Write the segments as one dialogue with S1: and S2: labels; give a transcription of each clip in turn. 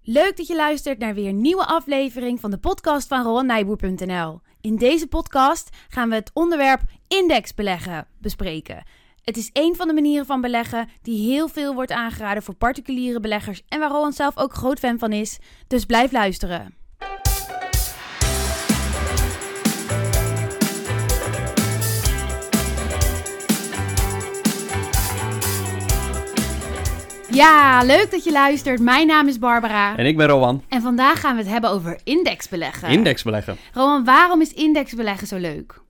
S1: Leuk dat je luistert naar weer een nieuwe aflevering van de podcast van RoanNijboer.nl. In deze podcast gaan we het onderwerp indexbeleggen bespreken. Het is een van de manieren van beleggen die heel veel wordt aangeraden voor particuliere beleggers en waar Roan zelf ook groot fan van is. Dus blijf luisteren. Ja, leuk dat je luistert. Mijn naam is Barbara.
S2: En ik ben Rowan.
S1: En vandaag gaan we het hebben over indexbeleggen.
S2: Indexbeleggen.
S1: Rowan, waarom is indexbeleggen zo leuk?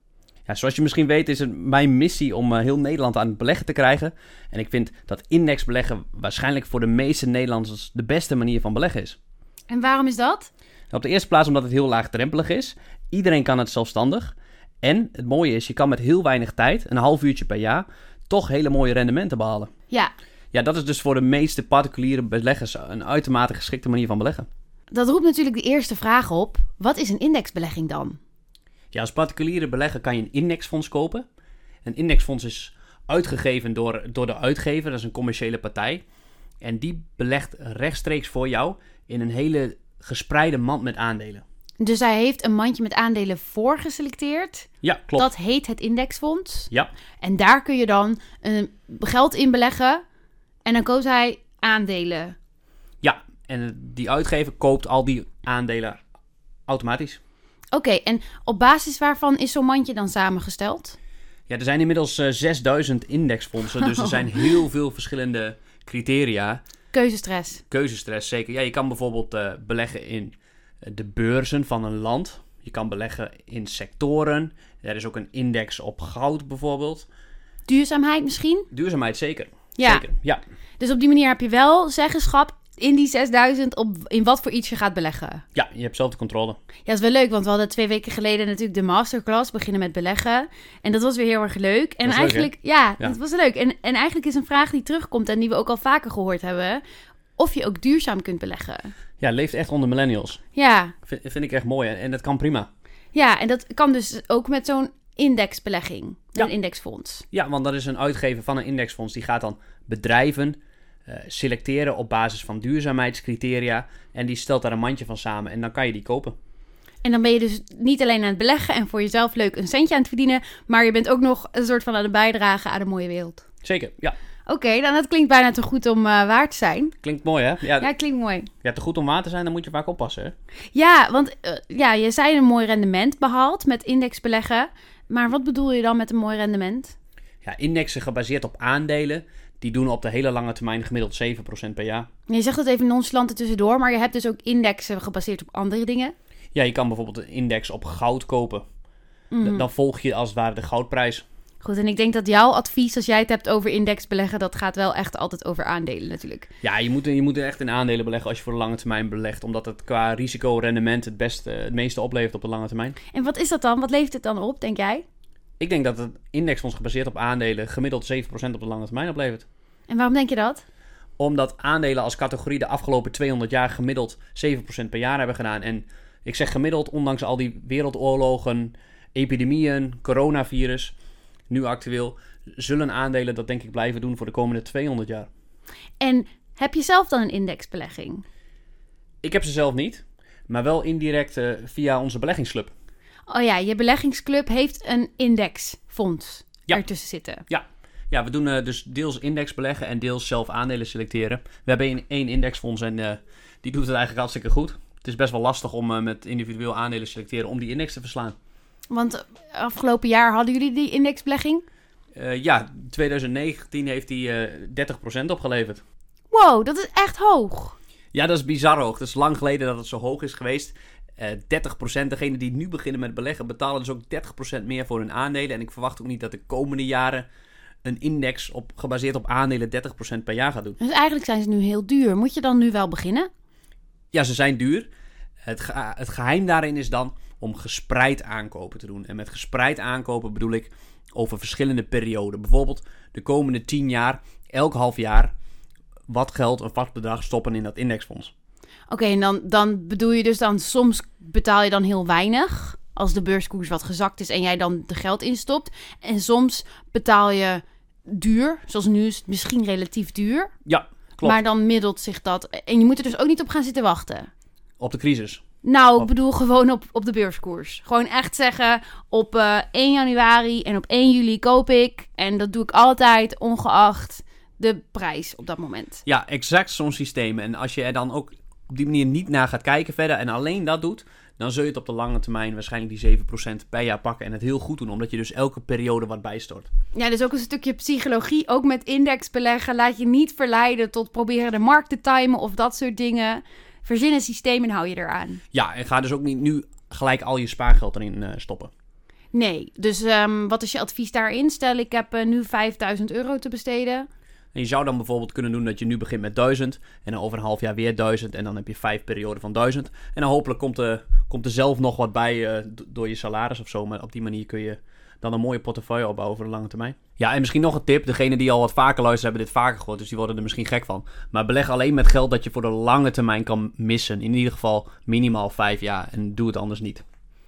S2: Ja, zoals je misschien weet is het mijn missie om eh, heel Nederland aan het beleggen te krijgen. En ik vind dat indexbeleggen waarschijnlijk voor de meeste Nederlanders de beste manier van beleggen is.
S1: En waarom is dat?
S2: Op de eerste plaats omdat het heel laagdrempelig is. Iedereen kan het zelfstandig. En het mooie is, je kan met heel weinig tijd, een half uurtje per jaar, toch hele mooie rendementen behalen.
S1: Ja,
S2: Ja, dat is dus voor de meeste particuliere beleggers een uitermate geschikte manier van beleggen.
S1: dat roept natuurlijk de eerste vraag op. Wat is een indexbelegging dan?
S2: Ja, als particuliere belegger kan je een indexfonds kopen. Een indexfonds is uitgegeven door, door de uitgever, dat is een commerciële partij. En die belegt rechtstreeks voor jou in een hele gespreide mand met aandelen.
S1: Dus hij heeft een mandje met aandelen voorgeselecteerd.
S2: Ja, klopt.
S1: Dat heet het indexfonds.
S2: Ja,
S1: En daar kun je dan eh, geld in beleggen. En dan koos hij aandelen.
S2: ja. En eh, die uitgever koopt al die aandelen automatisch.
S1: Oké, en op basis waarvan is zo'n mandje dan samengesteld?
S2: Ja, er zijn inmiddels eh, 6000 indexfondsen, dus er zijn heel veel verschillende criteria.
S1: Keuzestress.
S2: keuzestress zeker. Ja, je kan bijvoorbeeld eh, beleggen in eh, de beurzen van een land. Je kan beleggen in sectoren. Er is ook een index op goud bijvoorbeeld.
S1: Duurzaamheid misschien?
S2: Duurzaamheid zeker.
S1: Ja.
S2: Zeker. ja.
S1: Dus op die manier heb je wel zeggenschap in die 6000 op in wat voor iets je gaat beleggen.
S2: Ja, je hebt zelf de controle.
S1: Ja, dat is wel leuk, want we hadden twee weken geleden natuurlijk de masterclass beginnen met beleggen. En dat was weer heel erg leuk. En
S2: Dat is leuk, hè?
S1: eigenlijk, ja,
S2: Ja.
S1: dat was leuk. En, en eigenlijk is een vraag die terugkomt en die we ook al vaker gehoord hebben: of je ook duurzaam kunt beleggen.
S2: Ja, leeft echt onder millennials.
S1: Ja,
S2: Vind, vind ik echt mooi en, en dat kan prima.
S1: ja en dat kan dus ook met zo'n indexbelegging, met
S2: Ja.
S1: een indexfonds.
S2: Ja, want dat is een uitgever van een indexfonds. Die gaat dan bedrijven eh, selecteren op basis van duurzaamheidscriteria. En die stelt daar een mandje van samen en dan kan je die kopen.
S1: En dan ben je dus niet alleen aan het beleggen en voor jezelf leuk een centje aan het verdienen, maar je bent ook nog een soort van aan het bijdragen aan de mooie wereld.
S2: Zeker, ja.
S1: Oké, dan dat klinkt bijna te goed om eh, waar te zijn.
S2: Klinkt mooi hè? Ja,
S1: Ja,
S2: ja.
S1: klinkt mooi.
S2: te goed om waar te zijn, dan moet je vaak oppassen hè?
S1: Ja, want eh, ja, je zei een mooi rendement behaald met indexbeleggen. Maar wat bedoel je dan met een mooi rendement?
S2: Ja, indexen gebaseerd op aandelen, die doen op de hele lange termijn gemiddeld 7% per jaar.
S1: Je zegt dat even nonchalant er tussendoor, maar je hebt dus ook indexen gebaseerd op andere dingen.
S2: Ja, je kan bijvoorbeeld een index op goud kopen. Da- Dan volg je als het ware de goudprijs.
S1: Goed, en ik denk dat jouw advies als jij het hebt over indexbeleggen, dat gaat wel echt altijd over aandelen natuurlijk.
S2: Ja, je moet, je moet echt in aandelen beleggen als je voor de lange termijn belegt. Omdat het qua risico-rendement het, beste, het meeste oplevert op de lange termijn.
S1: En wat is dat dan? Wat levert het dan op, denk jij?
S2: Ik denk dat het indexfonds gebaseerd op aandelen gemiddeld 7% op de lange termijn oplevert.
S1: En waarom denk je dat?
S2: Omdat aandelen als categorie de afgelopen 200 jaar gemiddeld 7% per jaar hebben gedaan. En ik zeg gemiddeld, ondanks al die wereldoorlogen, epidemieën, coronavirus, nu actueel, zullen aandelen dat denk ik blijven doen voor de komende 200 jaar.
S1: En heb je zelf dan een indexbelegging?
S2: Ik heb ze zelf niet, maar wel indirect eh, via onze beleggingsclub.
S1: Oh ja, je beleggingsclub heeft een indexfonds
S2: Ja.
S1: ertussen zitten.
S2: Ja, ja we doen eh, dus deels index beleggen en deels zelf aandelen selecteren. We hebben één- één indexfonds en eh, die doet het eigenlijk hartstikke goed. Het is best wel lastig om eh, met individueel aandelen selecteren om die index te verslaan.
S1: Want eh, afgelopen jaar hadden jullie die indexbelegging?
S2: Eh, ja, 2019 heeft hij eh 30% opgeleverd.
S1: Wow, dat is echt hoog.
S2: Ja, dat is bizar hoog. Dat is lang geleden dat het zo hoog is geweest. Eh 30%, degenen die nu beginnen met beleggen, betalen dus ook 30% meer voor hun aandelen. En ik verwacht ook niet dat de komende jaren een index op, gebaseerd op aandelen 30% per jaar gaat doen.
S1: Dus eigenlijk zijn ze nu heel duur. Moet je dan nu wel beginnen?
S2: Ja, ze zijn duur. Het, ge- het geheim daarin is dan om gespreid aankopen te doen. En met gespreid aankopen bedoel ik over verschillende perioden. Bijvoorbeeld de komende 10 jaar, elk half jaar, wat geld, een vast bedrag stoppen in dat indexfonds.
S1: Oké, en dan, dan bedoel je dus dan soms betaal je dan heel weinig. Als de beurskoers wat gezakt is en jij dan de geld instopt. En soms betaal je duur. Zoals nu is het misschien relatief duur.
S2: Ja, klopt. Klopt.
S1: Maar dan middelt zich dat. En je moet er dus ook niet op gaan zitten wachten.
S2: Op de crisis.
S1: Nou, ik
S2: Op-
S1: bedoel gewoon op, op de beurskoers. Gewoon echt zeggen, op eh, 1 januari en op 1 juli koop ik. En dat doe ik altijd, ongeacht de prijs op dat moment.
S2: Ja, exact zo'n systeem. En als je er dan ook op die manier niet naar gaat kijken verder en alleen dat doet, dan zul je het op de lange termijn waarschijnlijk die 7% per jaar pakken en het heel goed doen, omdat je dus elke periode wat bijstort.
S1: Ja, dus ook een stukje psychologie. Ook met indexbeleggen. Laat je niet verleiden tot proberen de markt te timen of dat soort dingen. Verzin een systeem en hou je eraan.
S2: Ja, en ga dus ook niet nu gelijk al je spaargeld erin eh, stoppen.
S1: Nee, dus ehm, wat is je advies daarin? Stel, ik heb eh, nu 5000 euro te besteden.
S2: En je zou dan bijvoorbeeld kunnen doen dat je nu begint met 1000 en dan over een half jaar weer 1000 en dan heb je vijf perioden van 1000. En dan hopelijk komt er, komt er zelf nog wat bij eh, do- door je salaris of zo. Maar op die manier kun je dan een mooie portefeuille opbouwen voor de lange termijn. Ja, en misschien nog een tip. Degenen die al wat vaker luisteren hebben dit vaker gehoord, dus die worden er misschien gek van. Maar beleg alleen met geld dat je voor de lange termijn kan missen. In ieder geval minimaal vijf jaar en doe het anders niet.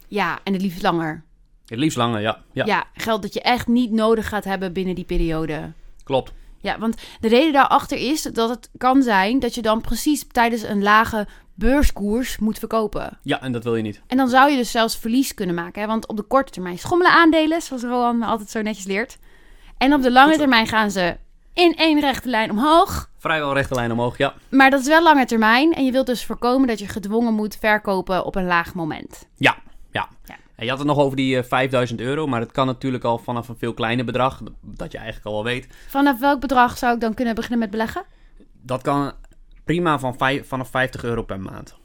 S1: Ja, en het liefst langer.
S2: Het liefst langer, ja. Ja,
S1: Ja. geld dat je echt niet nodig gaat hebben binnen die periode.
S2: klopt.
S1: Ja, want de reden daarachter is dat het kan zijn dat je dan precies tijdens een lage beurskoers moet verkopen.
S2: Ja, en dat wil je niet.
S1: En dan zou je dus zelfs verlies kunnen maken. Hè? Want op de korte termijn schommelen aandelen, zoals Roan me altijd zo netjes leert. En op de lange termijn gaan ze in één rechte lijn omhoog.
S2: Vrijwel rechte lijn omhoog, ja.
S1: Maar dat is wel lange termijn. En je wilt dus voorkomen dat je gedwongen moet verkopen op een laag moment.
S2: Ja, ja.
S1: Ja.
S2: En je had het nog over die eh, 5000 euro, maar dat kan natuurlijk al vanaf een veel kleiner bedrag, dat je eigenlijk al wel weet.
S1: Vanaf welk bedrag zou ik dan kunnen beginnen met beleggen?
S2: Dat kan prima van vij- vanaf 50 euro per maand.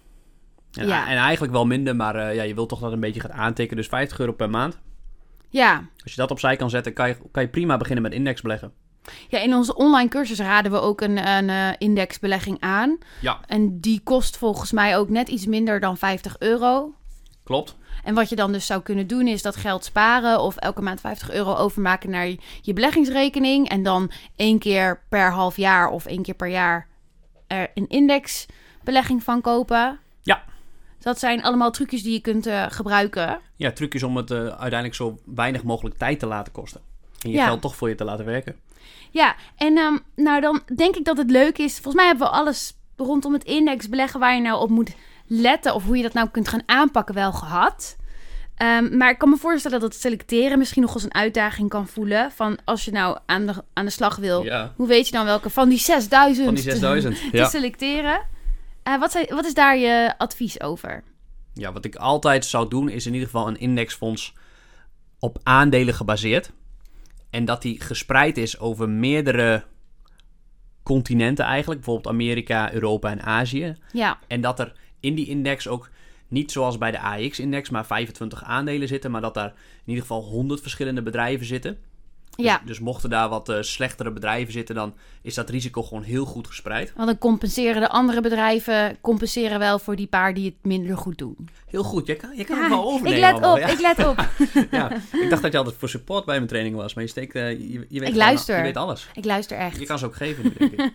S2: En,
S1: Ja.
S2: en eigenlijk wel minder, maar eh, ja, je wilt toch dat het een beetje gaat aantikken. Dus 50 euro per maand.
S1: Ja.
S2: Als je dat opzij kan zetten, kan je, kan je prima beginnen met indexbeleggen.
S1: ja, in onze online cursus raden we ook een, een eh, indexbelegging aan.
S2: Ja,
S1: En die kost volgens mij ook net iets minder dan 50 euro.
S2: klopt.
S1: En wat je dan dus zou kunnen doen is dat geld sparen of elke maand 50 euro overmaken naar je beleggingsrekening. En dan één keer per half jaar of één keer per jaar er een indexbelegging van kopen.
S2: Ja.
S1: Dat zijn allemaal trucjes die je kunt eh, gebruiken.
S2: Ja, trucjes om het eh, uiteindelijk zo weinig mogelijk tijd te laten kosten. En je
S1: Ja.
S2: geld toch voor je te laten werken.
S1: Ja, en ehm, nou dan denk ik dat het leuk is. Volgens mij hebben we alles rondom het indexbeleggen waar je nou op moet letten of hoe je dat nou kunt gaan aanpakken wel gehad. Ehm, maar ik kan me voorstellen dat het selecteren misschien nog als een uitdaging kan voelen. Van als je nou aan de, aan de slag wil,
S2: Ja.
S1: hoe weet je dan welke van die 6000,
S2: Van die 6000.
S1: te selecteren? Eh, wat, zijn, wat is daar je advies over?
S2: Ja, wat ik altijd zou doen is in ieder geval een indexfonds op aandelen gebaseerd. En dat die gespreid is over meerdere continenten eigenlijk. Bijvoorbeeld Amerika, Europa en Azië.
S1: Ja,
S2: En dat er in die index ook niet zoals bij de AX-index maar 25 aandelen zitten. Maar dat daar in ieder geval 100 verschillende bedrijven zitten.
S1: ja.
S2: Dus, dus mochten daar wat eh, slechtere bedrijven zitten, dan is dat risico gewoon heel goed gespreid.
S1: want dan compenseren de andere bedrijven compenseren wel voor die paar die het minder goed doen.
S2: Heel goed, je kan, je kan
S1: Ja,
S2: het wel overnemen.
S1: ik let
S2: allemaal,
S1: op,
S2: ja.
S1: ik let op.
S2: Ja, ik dacht dat je altijd voor support bij mijn training was, maar je steekt, eh, je, je weet gewoon-
S1: luister.
S2: je weet alles.
S1: Ik luister echt.
S2: Je kan ze ook geven nu, denk ik.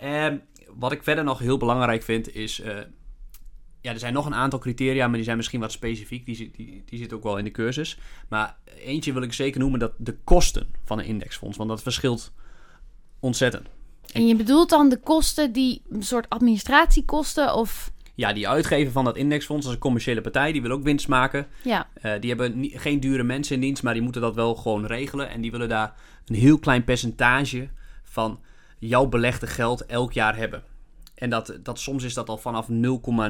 S2: Ehm, wat ik verder nog heel belangrijk vind is, eh, ja, er zijn nog een aantal criteria, maar die zijn misschien wat specifiek. Die, zit- die, die zitten ook wel in de cursus. Maar eentje wil ik zeker noemen, dat de kosten van een indexfonds, want dat verschilt ontzettend.
S1: En je bedoelt dan de kosten die een soort administratiekosten of
S2: Ja, die uitgever van dat indexfonds, dat is een commerciële partij, die wil ook winst maken.
S1: ja,
S2: Eh, die hebben ni- geen dure mensen in dienst, maar die moeten dat wel gewoon regelen. En die willen daar een heel klein percentage van jouw belegde geld elk jaar hebben. En dat, dat, soms is dat al vanaf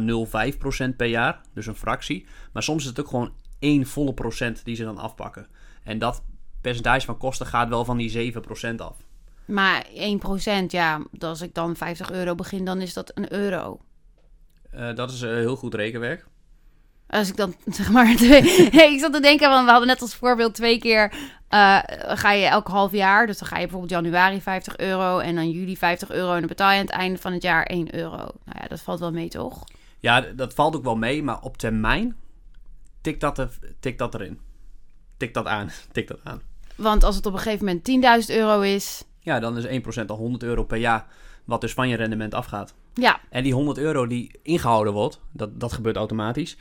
S2: 0,05% per jaar, dus een fractie. Maar soms is het ook gewoon één volle procent die ze dan afpakken. En dat percentage van kosten gaat wel van die 7% af.
S1: maar 1%, ja, als ik dan 50 euro begin, dan is dat een euro.
S2: Eh, dat is eh, heel goed rekenwerk.
S1: Als ik dan zeg maar twee, Nee, ik zat te denken van we hadden net als voorbeeld twee keer eh, ga je elk half jaar, dus dan ga je bijvoorbeeld januari 50 euro en dan juli 50 euro en dan betaal je aan het einde van het jaar 1 euro. Nou ja, dat valt wel mee toch?
S2: Ja, d- dat valt ook wel mee, maar op termijn tik dat, er, tik dat erin. Tik dat aan, tik dat aan.
S1: Want als het op een gegeven moment 10.000 euro is,
S2: Ja, dan is 1% al 100 euro per jaar, wat dus van je rendement afgaat.
S1: ja,
S2: En die 100 euro die ingehouden wordt, dat, dat gebeurt automatisch,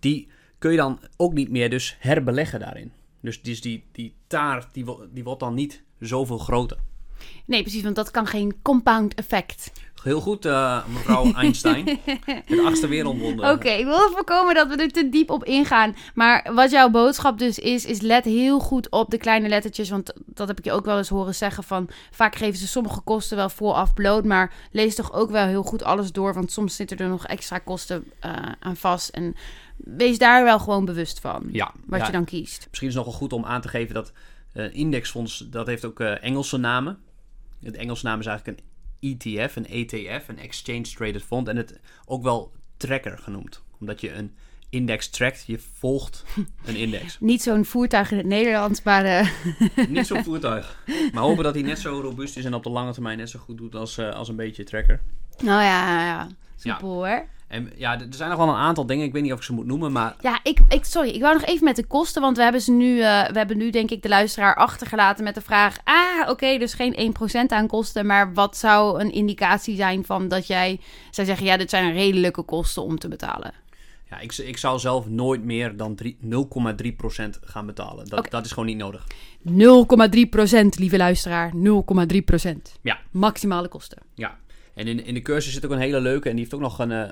S2: die kun je dan ook niet meer dus herbeleggen daarin. Dus, dus die, die taart, die, wo- die wordt dan niet zoveel groter.
S1: Nee, precies, want dat kan geen compound effect.
S2: Heel goed, eh, mevrouw Einstein. Het achtste wereldwonder.
S1: Oké, ik wil voorkomen dat we er te diep op ingaan. Maar wat jouw boodschap dus is, is let heel goed op de kleine lettertjes. Want dat heb ik je ook wel eens horen zeggen van... vaak geven ze sommige kosten wel vooraf bloot... maar lees toch ook wel heel goed alles door... want soms zitten er nog extra kosten eh, aan vast. En wees daar wel gewoon bewust van,
S2: Ja,
S1: wat
S2: ja.
S1: je dan kiest.
S2: Misschien is het nogal goed om aan te geven dat eh, indexfonds, dat heeft ook eh, Engelse namen. Het Engelse naam is eigenlijk een ETF, een ETF, een Exchange Traded Fund. En het ook wel tracker genoemd. Omdat je een index trackt, je volgt een index.
S1: Niet zo'n voertuig in het Nederlands, maar... eh,
S2: Niet zo'n voertuig. Maar hopen dat hij net zo robuust is en op de lange termijn net zo goed doet als, eh, als een beetje tracker.
S1: nou ja, ja, ja. soepel hoor.
S2: En ja, d- er zijn nog wel een aantal dingen, ik weet niet of ik ze moet noemen, maar
S1: Ja, ik, ik, sorry, ik wou nog even met de kosten, want we hebben ze nu, eh, we hebben nu denk ik de luisteraar achtergelaten met de vraag, ah, oké, dus geen 1% aan kosten, maar wat zou een indicatie zijn van dat jij zou zeggen, ja, dit zijn redelijke kosten om te betalen?
S2: ja, ik, z- ik zou zelf nooit meer dan drie- 0,3% gaan betalen. Dat,
S1: Oké.
S2: dat is gewoon niet nodig.
S1: 0,3% lieve luisteraar, 0,3%.
S2: Ja.
S1: Maximale kosten.
S2: Ja, en in, in de cursus zit ook een hele leuke en die heeft ook nog een eh,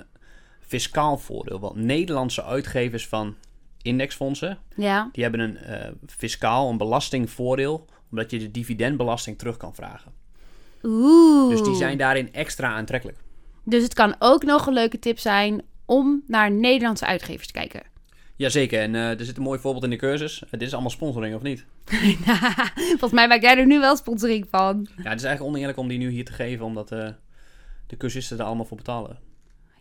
S2: fiscaal voordeel. Want Nederlandse uitgevers van indexfondsen,
S1: Ja,
S2: die hebben een eh, fiscaal, een belastingvoordeel, omdat je de dividendbelasting terug kan vragen.
S1: oeh.
S2: Dus die zijn daarin extra aantrekkelijk.
S1: Dus het kan ook nog een leuke tip zijn om naar Nederlandse uitgevers te kijken.
S2: Jazeker, en eh, er zit een mooi voorbeeld in de cursus. Eh, dit is allemaal sponsoring, of niet?
S1: Volgens mij maak jij er nu wel sponsoring van.
S2: Ja, het is eigenlijk oneerlijk om die nu hier te geven, omdat eh, de cursisten er allemaal voor betalen.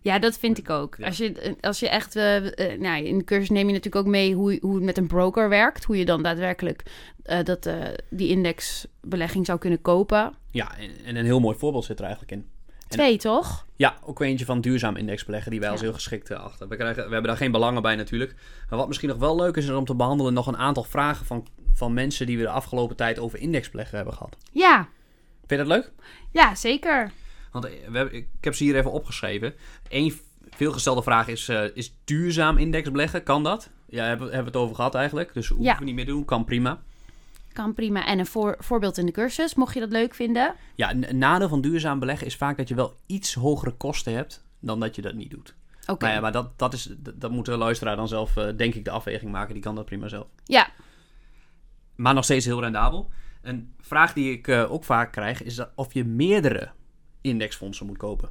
S1: Ja, dat vind ik ook.
S2: Ja.
S1: Als, je, als je echt... eh, eh, nou, in de cursus neem je natuurlijk ook mee hoe, hoe het met een broker werkt. Hoe je dan daadwerkelijk eh, dat, eh, die indexbelegging zou kunnen kopen.
S2: Ja, en, en een heel mooi voorbeeld zit er eigenlijk in.
S1: Twee, toch?
S2: Ja, ook eentje van duurzaam indexbeleggen die wij als
S1: Ja.
S2: heel geschikt eh, achten. We, krijgen, we hebben daar geen belangen bij natuurlijk. Maar wat misschien nog wel leuk is, is om te behandelen nog een aantal vragen van, van mensen die we de afgelopen tijd over indexbeleggen hebben gehad.
S1: Ja,
S2: Vind je dat leuk?
S1: ja zeker.
S2: Want eh, we hebben- ik heb ze hier even opgeschreven. Eén veelgestelde vraag is, eh, is duurzaam indexbeleggen, kan dat? Ja, hebben, we- hebben we het over gehad eigenlijk. Dus hoeven
S1: Ja.
S2: we niet meer te doen, kan prima.
S1: Kan prima. En een voor, voorbeeld in de cursus, mocht je dat leuk vinden.
S2: Ja, een een nadeel van duurzaam beleggen is vaak dat je wel iets hogere kosten hebt dan dat je dat niet doet.
S1: Oké.
S2: Maar, Nou ja, maar dat, dat, is, dat, dat moet de luisteraar dan zelf, eh, denk ik, de afweging maken. Die kan dat prima zelf.
S1: Ja,
S2: Maar nog steeds heel rendabel. Een vraag die ik eh, ook vaak krijg is dat of je meerdere indexfondsen moet kopen.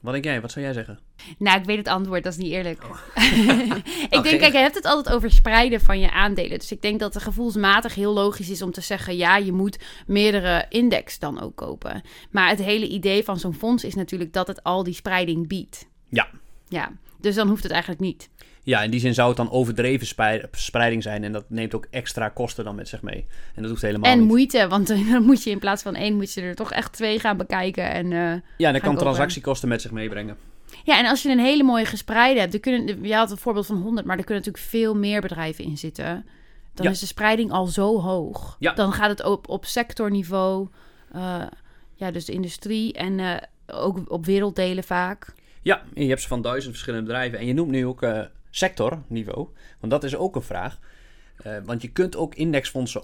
S2: Wat denk jij? Wat zou jij zeggen?
S1: Nou, ik weet het antwoord, dat is niet eerlijk. ik
S2: Oh. Oké.
S1: denk, kijk, je hebt het altijd over spreiden van je aandelen. Dus ik denk dat het gevoelsmatig heel logisch is om te zeggen: ja, je moet meerdere index dan ook kopen. Maar het hele idee van zo'n fonds is natuurlijk dat het al die spreiding biedt.
S2: Ja.
S1: Ja, dus dan hoeft het eigenlijk niet.
S2: Ja, in die zin zou het dan overdreven spei- spreiding zijn. En dat neemt ook extra kosten dan met zich mee. En dat hoeft helemaal
S1: en
S2: niet.
S1: moeite, want dan moet je in plaats van één, moet je er toch echt twee gaan bekijken. En, eh,
S2: ja, en dat
S1: Ga
S2: kan
S1: ik over.
S2: transactiekosten met zich meebrengen.
S1: Ja, en als je een hele mooie gespreide hebt, er kunnen, je had een voorbeeld van 100, maar er kunnen natuurlijk veel meer bedrijven in zitten. Dan
S2: Ja.
S1: is de spreiding al zo hoog.
S2: Ja.
S1: Dan gaat het op, op sectorniveau, eh, ja, dus de industrie en eh, ook op werelddelen vaak.
S2: Ja, je hebt ze van duizend verschillende bedrijven. En je noemt nu ook eh, sectorniveau. Want dat is ook een vraag. Eh, want je kunt ook indexfondsen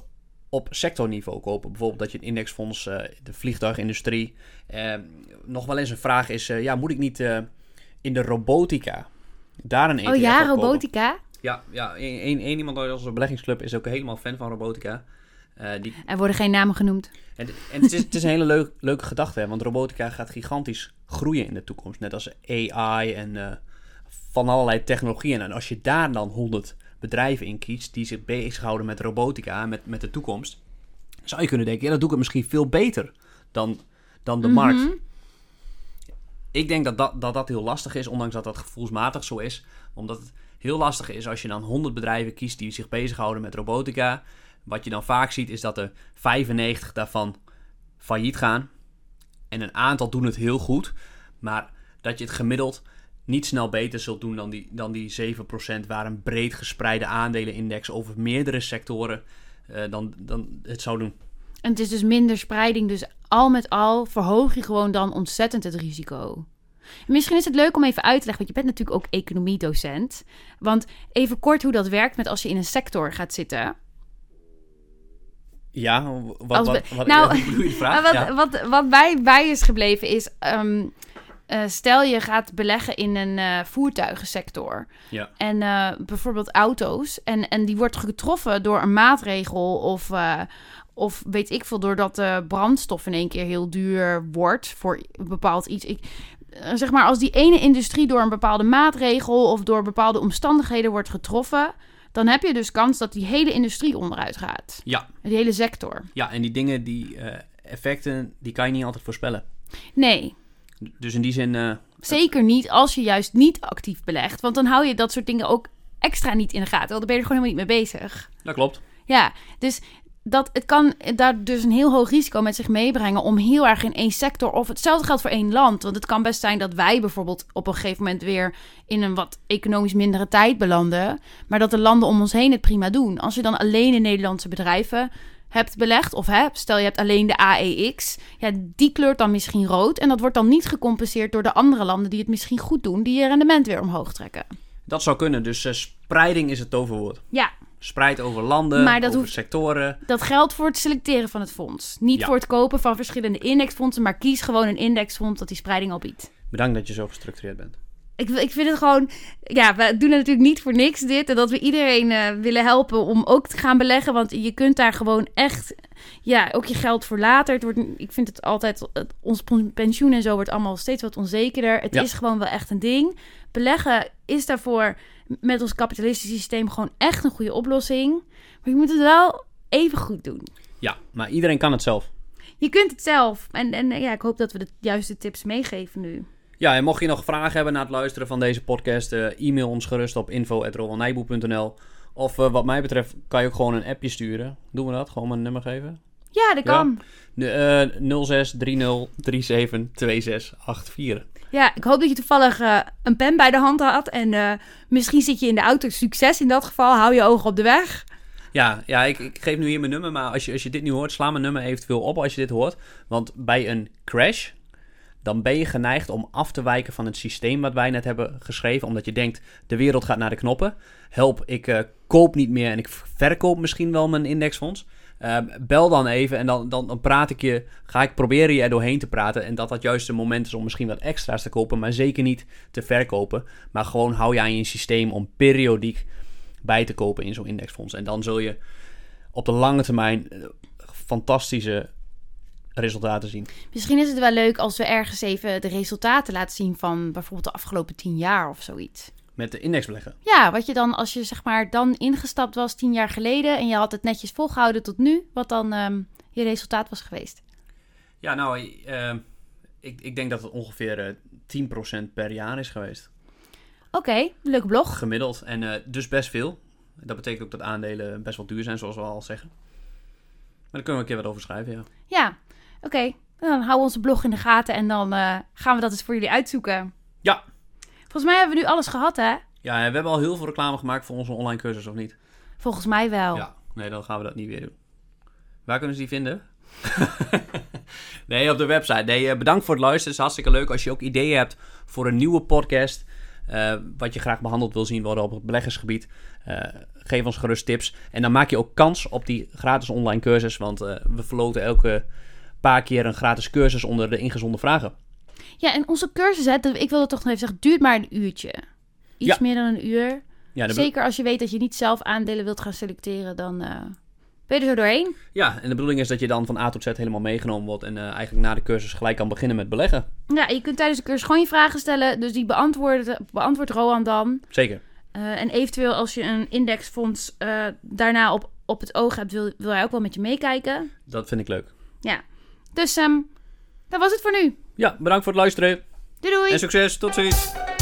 S2: op sectorniveau kopen. Bijvoorbeeld dat je een indexfonds, eh, de vliegtuigindustrie. Eh, nog wel eens een vraag is, eh, ja, moet ik niet eh, in de robotica daar een ETF
S1: oh ja,
S2: op kopen?
S1: robotica.
S2: Ja, ja één één- één iemand uit onze beleggingsclub is ook helemaal fan van robotica. Eh, die,
S1: Er worden geen namen genoemd.
S2: en en het, is, het is een hele leuk, leuke gedachte, hè? want robotica gaat gigantisch groeien in de toekomst. Net als AI en eh, van allerlei technologieën. En als je daar dan 100 bedrijven in kiest die zich bezighouden met robotica, met, met de toekomst, zou je kunnen denken, ja, dat doe ik het misschien veel beter dan, dan de markt. Ik denk dat dat, dat dat heel lastig is, ondanks dat dat gevoelsmatig zo is. Omdat het heel lastig is als je dan 100 bedrijven kiest die zich bezighouden met robotica. Wat je dan vaak ziet is dat er 95 daarvan failliet gaan. En een aantal doen het heel goed. Maar dat je het gemiddeld niet snel beter zult doen dan die, dan die 7% waar een breed gespreide aandelenindex over meerdere sectoren eh, dan, dan het zou doen.
S1: En het is dus minder spreiding, dus al met al verhoog je gewoon dan ontzettend het risico. En Misschien is het leuk om even uit te leggen, want je bent natuurlijk ook economiedocent. Want even kort hoe dat werkt met als je in een sector gaat zitten.
S2: Ja, wat, wat,
S1: Als
S2: wat,
S1: we- nou,
S2: hoe bedoel je de vraag?
S1: Maar wat,
S2: Ja.
S1: wat, wat bij, bij is gebleven is... ehm, eh, stel je gaat beleggen in een eh, voertuigensector.
S2: Ja.
S1: En eh, bijvoorbeeld auto's. En, en die wordt getroffen door een maatregel of... eh, of weet ik veel, doordat de brandstof in één keer heel duur wordt voor een bepaald iets. Ik, eh, zeg maar, als die ene industrie door een bepaalde maatregel of door bepaalde omstandigheden wordt getroffen, dan heb je dus kans dat die hele industrie onderuit gaat.
S2: Ja.
S1: Die hele sector.
S2: ja, en die dingen, die eh, effecten, die kan je niet altijd voorspellen.
S1: Nee,
S2: Dus in die zin, eh,
S1: Zeker niet als je juist niet actief belegt. Want dan hou je dat soort dingen ook extra niet in de gaten. Want dan ben je er gewoon helemaal niet mee bezig.
S2: dat klopt.
S1: Ja, dus dat, het kan daar dus een heel hoog risico met zich meebrengen... om heel erg in één sector... of hetzelfde geldt voor één land. Want het kan best zijn dat wij bijvoorbeeld op een gegeven moment... weer in een wat economisch mindere tijd belanden. Maar dat de landen om ons heen het prima doen. Als je dan alleen in Nederlandse bedrijven hebt belegd... of hè, stel je hebt alleen de AEX... Ja, die kleurt dan misschien rood. En dat wordt dan niet gecompenseerd door de andere landen die het misschien goed doen, die je rendement weer omhoog trekken.
S2: Dat zou kunnen. Dus eh, spreiding is het toverwoord.
S1: Ja,
S2: Spreid over landen,
S1: Maar dat
S2: over
S1: hoeft-
S2: sectoren.
S1: dat geldt voor het selecteren van het fonds. Niet
S2: Ja.
S1: voor het kopen van verschillende indexfondsen, maar kies gewoon een indexfonds dat die spreiding al biedt.
S2: Bedankt dat je zo gestructureerd bent.
S1: Ik, ik vind het gewoon, ja, we doen het natuurlijk niet voor niks dit. En dat we iedereen eh, willen helpen om ook te gaan beleggen. Want je kunt daar gewoon echt, ja, ook je geld voor later. Het wordt, ik vind het altijd, het- ons pen- pensioen en zo wordt allemaal steeds wat onzekerder. Het
S2: Ja.
S1: is gewoon wel echt een ding. Beleggen is daarvoor met ons kapitalistische systeem gewoon echt een goede oplossing. Maar je moet het wel even goed doen.
S2: Ja, maar iedereen kan het zelf.
S1: Je kunt het zelf. En, en eh, ja, ik hoop dat we de juiste tips meegeven nu.
S2: Ja, en mocht je nog vragen hebben na het luisteren van deze podcast, eh, e-mail ons gerust op info.roelnijboe.nl. Of eh, wat mij betreft kan je ook gewoon een appje sturen. Doen we dat? Gewoon een nummer geven?
S1: Ja, dat
S2: Ja.
S1: kan.
S2: De, eh 06 30 37 26 84.
S1: Ja, ik hoop dat je toevallig eh, een pen bij de hand had. En eh, misschien zit je in de auto. Succes in dat geval. Hou je ogen op de weg.
S2: Ja, ja ik, ik geef nu hier mijn nummer, maar als je, als je dit nu hoort, sla mijn nummer eventueel op als je dit hoort. Want bij een crash, dan ben je geneigd om af te wijken van het systeem wat wij net hebben geschreven. Omdat je denkt, de wereld gaat naar de knoppen. Help, ik eh, koop niet meer en ik verkoop misschien wel mijn indexfonds. Eh, bel dan even en dan, dan, dan praat ik je, ga ik proberen je er doorheen te praten. En dat dat juist het moment is om misschien wat extra's te kopen, maar zeker niet te verkopen. Maar gewoon hou je aan je systeem om periodiek bij te kopen in zo'n indexfonds. En dan zul je op de lange termijn eh, fantastische resultaten zien.
S1: Misschien is het wel leuk als we ergens even de resultaten laten zien van bijvoorbeeld de afgelopen tien jaar of zoiets.
S2: Met de indexbeleggen.
S1: Ja, wat je dan als je zeg maar dan ingestapt was tien jaar geleden en je had het netjes volgehouden tot nu, wat dan ehm, je resultaat was geweest.
S2: Ja, nou, eh, ik, ik denk dat het ongeveer eh, 10% per jaar is geweest.
S1: Oké, leuk blog.
S2: Gemiddeld. En eh, dus best veel. Dat betekent ook dat aandelen best wel duur zijn, zoals we al zeggen. Maar daar kunnen we een keer wat over schrijven, ja.
S1: Ja, oké. Dan houden we onze blog in de gaten en dan eh, gaan we dat eens voor jullie uitzoeken.
S2: Ja.
S1: Volgens mij hebben we nu alles gehad, hè?
S2: Ja, en we hebben al heel veel reclame gemaakt voor onze online cursus, of niet?
S1: Volgens mij wel.
S2: Ja, nee, dan gaan we dat niet weer doen. Waar kunnen ze die vinden? nee, op de website. Nee, eh, bedankt voor het luisteren. Het is hartstikke leuk. Als je ook ideeën hebt voor een nieuwe podcast, eh, wat je graag behandeld wil zien worden op het beleggersgebied, eh, geef ons gerust tips. En dan maak je ook kans op die gratis online cursus, want eh, we verloten elke paar keer een gratis cursus onder de ingezonde vragen.
S1: Ja, en onze cursus, hè, dat- ik wil het toch nog even zeggen, duurt maar een uurtje. Iets
S2: Ja.
S1: meer dan een uur.
S2: Ja, dan
S1: Zeker als je weet dat je niet zelf aandelen wilt gaan selecteren, dan eh, ben je er zo doorheen.
S2: ja, en de bedoeling is dat je dan van A tot Z helemaal meegenomen wordt en eh, eigenlijk na de cursus gelijk kan beginnen met beleggen.
S1: Ja, en je kunt tijdens de cursus gewoon je vragen stellen. Dus die beantwoordt beantwoord Roan dan.
S2: Zeker.
S1: Eh, en eventueel als je een indexfonds eh, daarna op, op het oog hebt, wil, wil hij ook wel met je meekijken.
S2: Dat vind ik leuk.
S1: Dus ehm, dat was het voor nu.
S2: Ja, bedankt voor het luisteren.
S1: Doei doei!
S2: En succes, tot ziens.